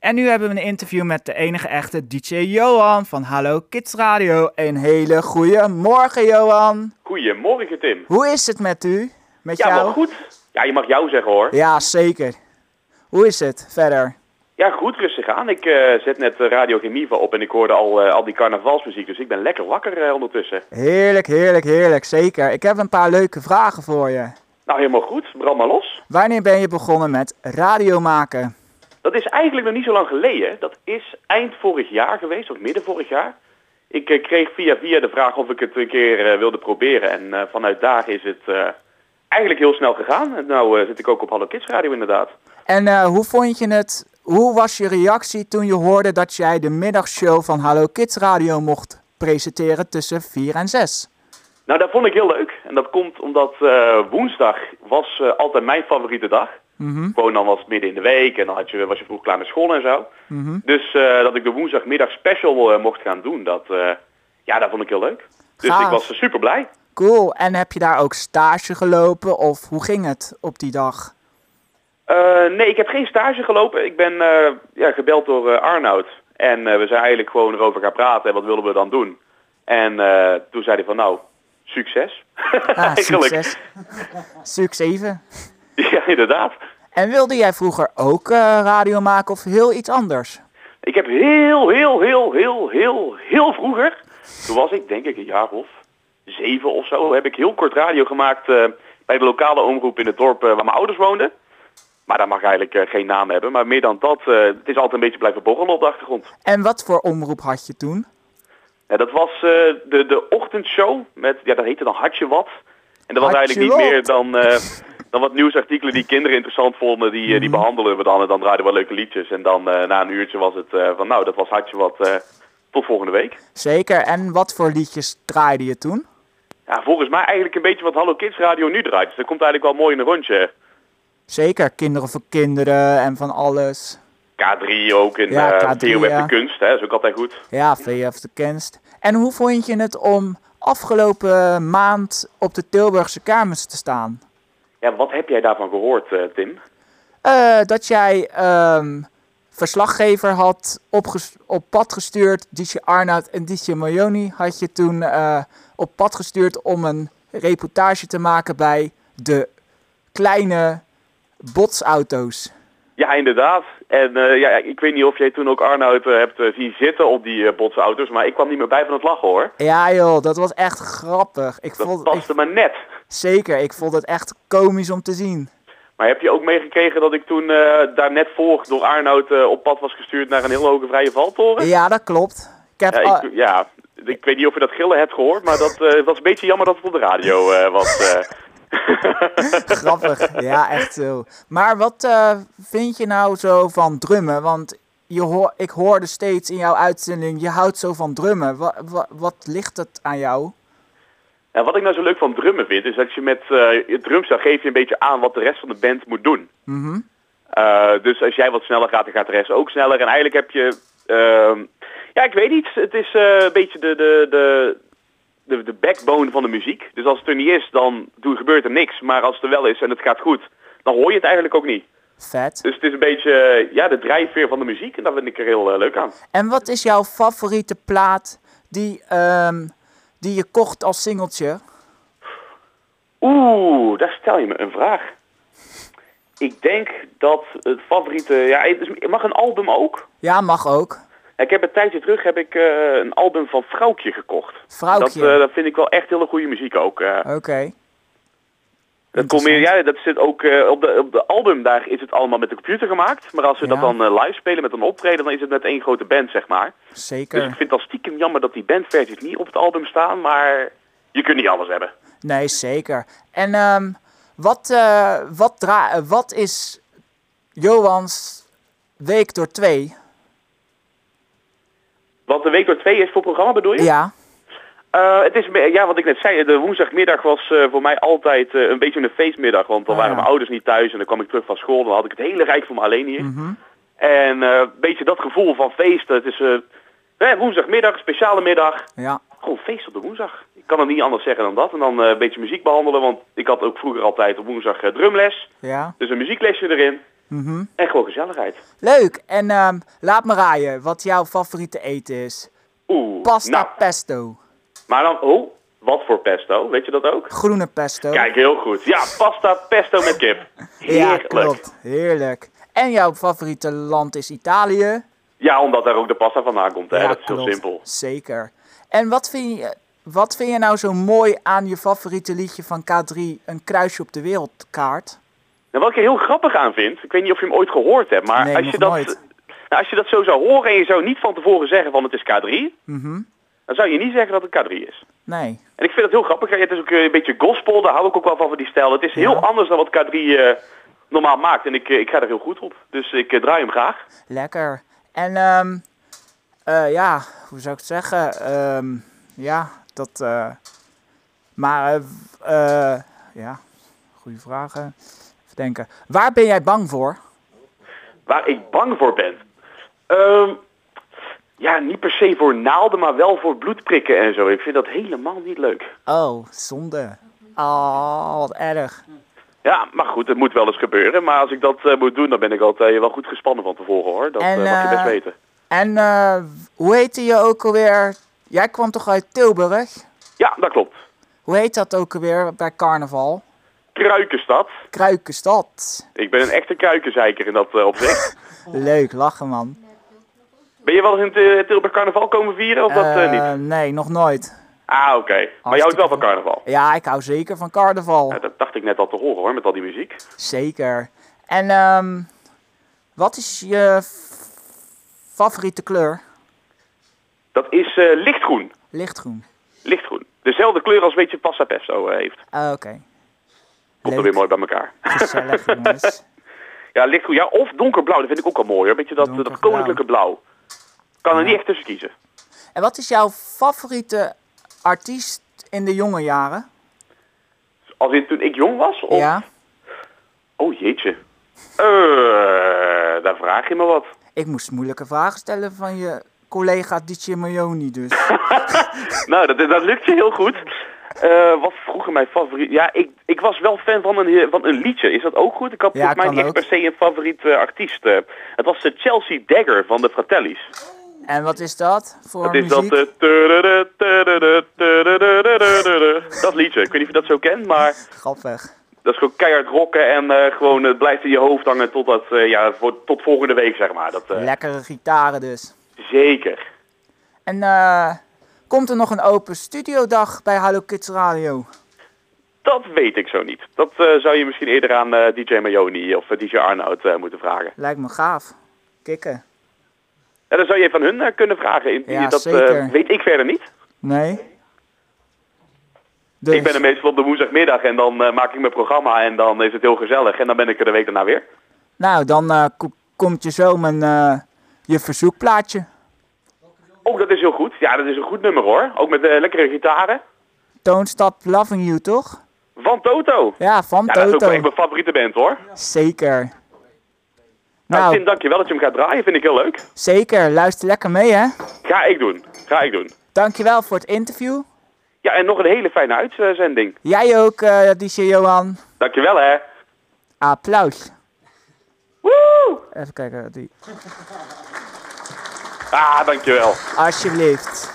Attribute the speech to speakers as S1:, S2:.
S1: En nu hebben we een interview met de enige echte DJ Johan van Hallo Kids Radio. Een hele goede morgen, Johan.
S2: Goedemorgen, Tim.
S1: Hoe is het met u? Met
S2: Ja,
S1: jou?
S2: wel goed. Ja, je mag jou zeggen hoor.
S1: Ja, zeker. Hoe is het verder?
S2: Ja, goed, rustig aan. Ik eh, zet net eh, Radio Gemiva op en ik hoorde al, eh, al die carnavalsmuziek, dus ik ben lekker wakker eh, ondertussen.
S1: Heerlijk, heerlijk, heerlijk, zeker. Ik heb een paar leuke vragen voor je.
S2: Nou, helemaal goed. Brand maar los.
S1: Wanneer ben je begonnen met radio maken?
S2: Dat is eigenlijk nog niet zo lang geleden. Dat is eind vorig jaar geweest, of midden vorig jaar. Ik eh, kreeg via via de vraag of ik het een keer eh, wilde proberen en eh, vanuit daar is het eh, eigenlijk heel snel gegaan. En nou eh, zit ik ook op Hallo Kids Radio inderdaad.
S1: En eh, hoe vond je het? Hoe was je reactie toen je hoorde dat jij de middagshow van Hallo Kids Radio mocht presenteren tussen 4 en 6?
S2: Nou, dat vond ik heel leuk. En dat komt omdat eh, woensdag was eh, altijd mijn favoriete dag.
S1: Mhm.
S2: Gewoon dan was het midden in de week en dan had je, was je vroeg klaar met school en zo.
S1: Mhm.
S2: Dus eh, dat ik de woensdagmiddag special eh, mocht gaan doen, dat, eh, ja, dat vond ik heel leuk. Dus
S1: Gaaf.
S2: ik was super blij.
S1: Cool. En heb je daar ook stage gelopen of hoe ging het op die dag?
S2: Eh, nee, ik heb geen stage gelopen. Ik ben eh, ja, gebeld door eh, Arnoud. En eh, we zijn eigenlijk gewoon erover gaan praten. En wat willen we dan doen? En eh, toen zei hij van nou, succes.
S1: Ah,
S2: Eigenlijk.
S1: succes. Succes even.
S2: Ja, inderdaad.
S1: En wilde jij vroeger ook eh, radio maken of heel iets anders?
S2: Ik heb heel, heel, heel, heel, heel, heel vroeger, toen was ik denk ik een jaar of zeven of zo, heb ik heel kort radio gemaakt eh, bij de lokale omroep in het dorp eh, waar mijn ouders woonden. Maar dat mag eigenlijk eh, geen naam hebben. Maar meer dan dat, eh, het is altijd een beetje blijven borrelen op de achtergrond.
S1: En wat voor omroep had je toen?
S2: Ja, dat was eh, de, de ochtendshow met, ja dat heette dan Hartje Wat. En dat was
S1: Hartje
S2: eigenlijk
S1: Wat.
S2: niet meer dan, eh, dan wat nieuwsartikelen die kinderen interessant vonden, die, eh, die
S1: Mhm.
S2: behandelen we dan. En dan draaiden we leuke liedjes. En dan eh, na een uurtje was het eh, van nou, dat was Hartje Wat. eh, tot volgende week.
S1: Zeker. En wat voor liedjes draaide je toen?
S2: Ja, volgens mij eigenlijk een beetje wat Hallo Kids Radio nu draait. Dus dat komt eigenlijk wel mooi in een rondje.
S1: Zeker. Kinderen voor kinderen en van alles.
S2: K3 ook in
S1: Ja,
S2: ja,
S1: K3, ja.
S2: de kunst, hè, is ook altijd goed.
S1: Ja, VF de kenst. En hoe vond je het om afgelopen maand op de Tilburgse Kermis te staan?
S2: Ja, wat heb jij daarvan gehoord, eh, Tim?
S1: Eh, dat jij ehm, verslaggever had opges- op pad gestuurd. DJ Arnoud en DJ Mojoni had je toen eh, op pad gestuurd om een reportage te maken bij de kleine botsauto's.
S2: Ja, inderdaad. En eh, ja, ik weet niet of jij toen ook Arnoud eh, hebt eh, zien zitten op die eh, botsauto's, maar ik kwam niet meer bij van het lachen hoor.
S1: Ja joh, dat was echt grappig. Ik
S2: Dat
S1: vond, ik,
S2: paste maar net.
S1: zeker, ik vond het echt komisch om te zien.
S2: Maar heb je ook meegekregen dat ik toen eh, daar net voor door Arnoud eh, op pad was gestuurd naar een heel hoge vrije valtoren?
S1: Ja, dat klopt. Ik heb, eh,
S2: Ja,
S1: al-
S2: ik, ja, ik weet niet of je dat gillen hebt gehoord, maar dat eh, was een beetje jammer dat het op de radio eh, was. eh.
S1: Grappig, ja, echt zo. Maar wat eh, vind je nou zo van drummen? Want je hoor, ik hoorde steeds in jouw uitzending, je houdt zo van drummen. Wa- wa- wat ligt het aan jou?
S2: En wat ik nou zo leuk van drummen vind, is dat je met eh je drumstel geef je een beetje aan wat de rest van de band moet doen. Eh, dus als jij wat sneller gaat, dan gaat de rest ook sneller. En eigenlijk heb je, ehm, ja ik weet niet, het is eh, een beetje de, de, de, de, de backbone van de muziek. Dus als het er niet is, dan doe- gebeurt er niks. Maar als het er wel is en het gaat goed, dan hoor je het eigenlijk ook niet.
S1: Vet.
S2: Dus het is een beetje eh, ja, de drijfveer van de muziek en daar vind ik er heel eh, leuk aan.
S1: En wat is jouw favoriete plaat die, ehm, die je kocht als singeltje?
S2: Oeh, daar stel je me een vraag. Ik denk dat het favoriete... Ja, het is- mag een album ook?
S1: Ja, mag ook.
S2: Ik heb een tijdje terug heb ik, eh, een album van Vrouwtje gekocht.
S1: Vrouwtje.
S2: Dat, eh, dat vind ik wel echt hele goede muziek ook. eh.
S1: Oké.
S2: dat, komt meer, ja, dat zit ook eh, op, de, op de album, daar is het allemaal met de computer gemaakt. Maar als we dat
S1: Ja.
S2: dan eh, live spelen met een optreden, dan is het met één grote band, zeg maar. Dus ik
S1: Zeker.
S2: vind het al stiekem jammer dat die bandversies niet op het album staan, maar je kunt niet alles hebben.
S1: Nee, zeker. En ehm, wat, eh, wat, dra- eh, wat is Johans week door twee?
S2: Wat de week door twee is voor programma bedoel je?
S1: Ja.
S2: Eh, het is, me- ja, wat ik net zei, de woensdagmiddag was eh, voor mij altijd eh, een beetje een feestmiddag. Want dan
S1: Ah,
S2: waren
S1: ja.
S2: mijn ouders niet thuis en dan kwam ik terug van school. Dan had ik het hele rijk voor me alleen hier.
S1: Mhm.
S2: En eh, een beetje dat gevoel van feest. Het is eh, hè, woensdagmiddag, speciale middag.
S1: Ja,
S2: Gewoon feest op de woensdag. Ik kan het niet anders zeggen dan dat. En dan eh, een beetje muziek behandelen. Want ik had ook vroeger altijd op woensdag eh, drumles.
S1: ja.
S2: Dus een muzieklesje erin.
S1: Mhm.
S2: En gewoon gezelligheid.
S1: Leuk. En ehm, laat me raaien wat jouw favoriete eten is.
S2: Oeh.
S1: Pasta
S2: Nou,
S1: pesto.
S2: maar dan, oh, wat voor pesto? Weet je dat ook?
S1: Groene pesto.
S2: Kijk, heel goed. Ja, pasta pesto met kip.
S1: ja,
S2: Heerlijk.
S1: klopt. Heerlijk. En jouw favoriete land is Italië.
S2: Ja, omdat daar ook de pasta vandaan komt. Hè?
S1: ja,
S2: dat is heel
S1: klopt.
S2: simpel.
S1: Zeker. En wat vind, je, wat vind je nou zo mooi aan je favoriete liedje van K3, Een kruisje op de wereldkaart?
S2: Nou, wat ik er heel grappig aan vind, ik weet niet of je hem ooit gehoord hebt, maar
S1: Nee,
S2: als,
S1: nog
S2: je dat,
S1: nooit.
S2: Nou, als je dat zo zou horen en je zou niet van tevoren zeggen van het is K3,
S1: Mhm.
S2: dan zou je niet zeggen dat het K3 is.
S1: Nee.
S2: En ik vind het heel grappig. Het is ook eh, een beetje gospel, daar hou ik ook wel van, van die stijl. Het is heel
S1: Ja.
S2: anders dan wat K3 eh, normaal maakt en ik, eh, ik ga er heel goed op. Dus ik eh, draai hem graag.
S1: Lekker. En ehm, eh, ja, hoe zou ik het zeggen? Ehm, ja, dat. eh, maar eh, w- eh, ja, goede vragen. Even denken. Waar ben jij bang voor?
S2: Waar ik bang voor ben? Ehm, ja, niet per se voor naalden, maar wel voor bloedprikken en zo. Ik vind dat helemaal niet leuk.
S1: Oh, zonde. Oh, wat erg.
S2: Ja, maar goed, het moet wel eens gebeuren. Maar als ik dat eh, moet doen, dan ben ik altijd wel goed gespannen van tevoren hoor. Dat
S1: En,
S2: eh, mag je
S1: eh,
S2: best weten.
S1: En eh, hoe heette je ook alweer? Jij kwam toch uit Tilburg?
S2: Ja, dat klopt.
S1: Hoe heet dat ook alweer bij carnaval?
S2: Kruikenstad.
S1: Kruikenstad.
S2: Ik ben een echte kruikenzeiker in dat eh, opzicht.
S1: Leuk, lachen man.
S2: Ben je wel eens in Til- Tilburg carnaval komen vieren of dat eh, niet?
S1: Eh, nee, nog nooit.
S2: Ah, oké. Maar je houdt wel van carnaval.
S1: Ja, ik hou zeker van carnaval.
S2: Ja, dat dacht ik net al te horen hoor, met al die muziek.
S1: Zeker. En ehm, wat is je f- favoriete kleur?
S2: Dat is eh, lichtgroen.
S1: Lichtgroen.
S2: Lichtgroen. Dezelfde kleur als weet je Passa Pesto eh, heeft.
S1: Ah, Oké.
S2: Komt
S1: Leuk.
S2: er weer mooi bij elkaar.
S1: Gezellig, jongens.
S2: Ja, lichtgroen. Ja, of donkerblauw. Dat vind ik ook al mooi hoor. Beetje dat, dat
S1: Donkerblauw.
S2: koninklijke blauw. Kan er niet echt tussen kiezen.
S1: En wat is jouw favoriete artiest in de jonge jaren?
S2: Als in toen ik jong was? Of...
S1: Ja.
S2: Oh jeetje. Eh, daar vraag je me wat.
S1: Ik moest moeilijke vragen stellen van je collega DJ Milioni dus.
S2: Nou, dat, dat lukt je heel goed. Eh, wat vroeger mijn favoriet... Ja, ik, ik was wel fan van een, he- van een liedje. Is dat ook goed? Ik had
S1: Ja,
S2: volgens mij
S1: kan
S2: niet echt
S1: ook.
S2: per se een favoriet eh, artiest. eh. het was de Chelsea Dagger van de Fratellis.
S1: En wat is dat voor
S2: Dat is
S1: muziek?
S2: dat... eh, tururu, tururu, tururu, tururu. Dat liedje. Ik weet niet of je dat zo kent, maar...
S1: Grappig.
S2: Dat is gewoon keihard rocken en eh, gewoon het blijft in je hoofd hangen totdat, eh, ja, voor, tot volgende week, zeg maar. Dat, eh,
S1: Lekkere gitaren dus.
S2: zeker.
S1: En eh, komt er nog een open studiodag bij Hallo Kids Radio?
S2: Dat weet ik zo niet. Dat eh, zou je misschien eerder aan eh, DJ Mayoni of eh, DJ Arnoud eh, moeten vragen.
S1: Lijkt me gaaf. Kikken.
S2: En dan zou je van hun eh, kunnen vragen. In,
S1: Ja,
S2: dat eh,
S1: zeker.
S2: weet ik verder niet.
S1: Nee. Dus,
S2: Ik ben er meestal op de woensdagmiddag en dan eh, maak ik mijn programma en dan is het heel gezellig. En dan ben ik er de week daarna weer.
S1: Nou, dan eh, ko- komt je zo mijn, eh, je verzoekplaatje.
S2: Ook Oh, dat is heel goed. Ja, dat is een goed nummer hoor. Ook met eh, lekkere gitaren.
S1: Toonstap Loving You, toch?
S2: Van Toto.
S1: Ja, van
S2: Ja, dat is ook
S1: Toto.
S2: wel echt mijn favoriete band hoor.
S1: Zeker.
S2: Nou,
S1: Nou,
S2: Tim, dankjewel dat je hem gaat draaien. Vind ik heel leuk.
S1: zeker. Luister lekker mee, hè.
S2: Ga ik doen. Ga ik doen.
S1: Dankjewel voor het interview.
S2: Ja, en nog een hele fijne uitzending.
S1: Jij ook, eh DJ Johan.
S2: Dankjewel hè.
S1: Applaus.
S2: Woe!
S1: Even kijken. Die.
S2: Ah, dankjewel.
S1: Alsjeblieft.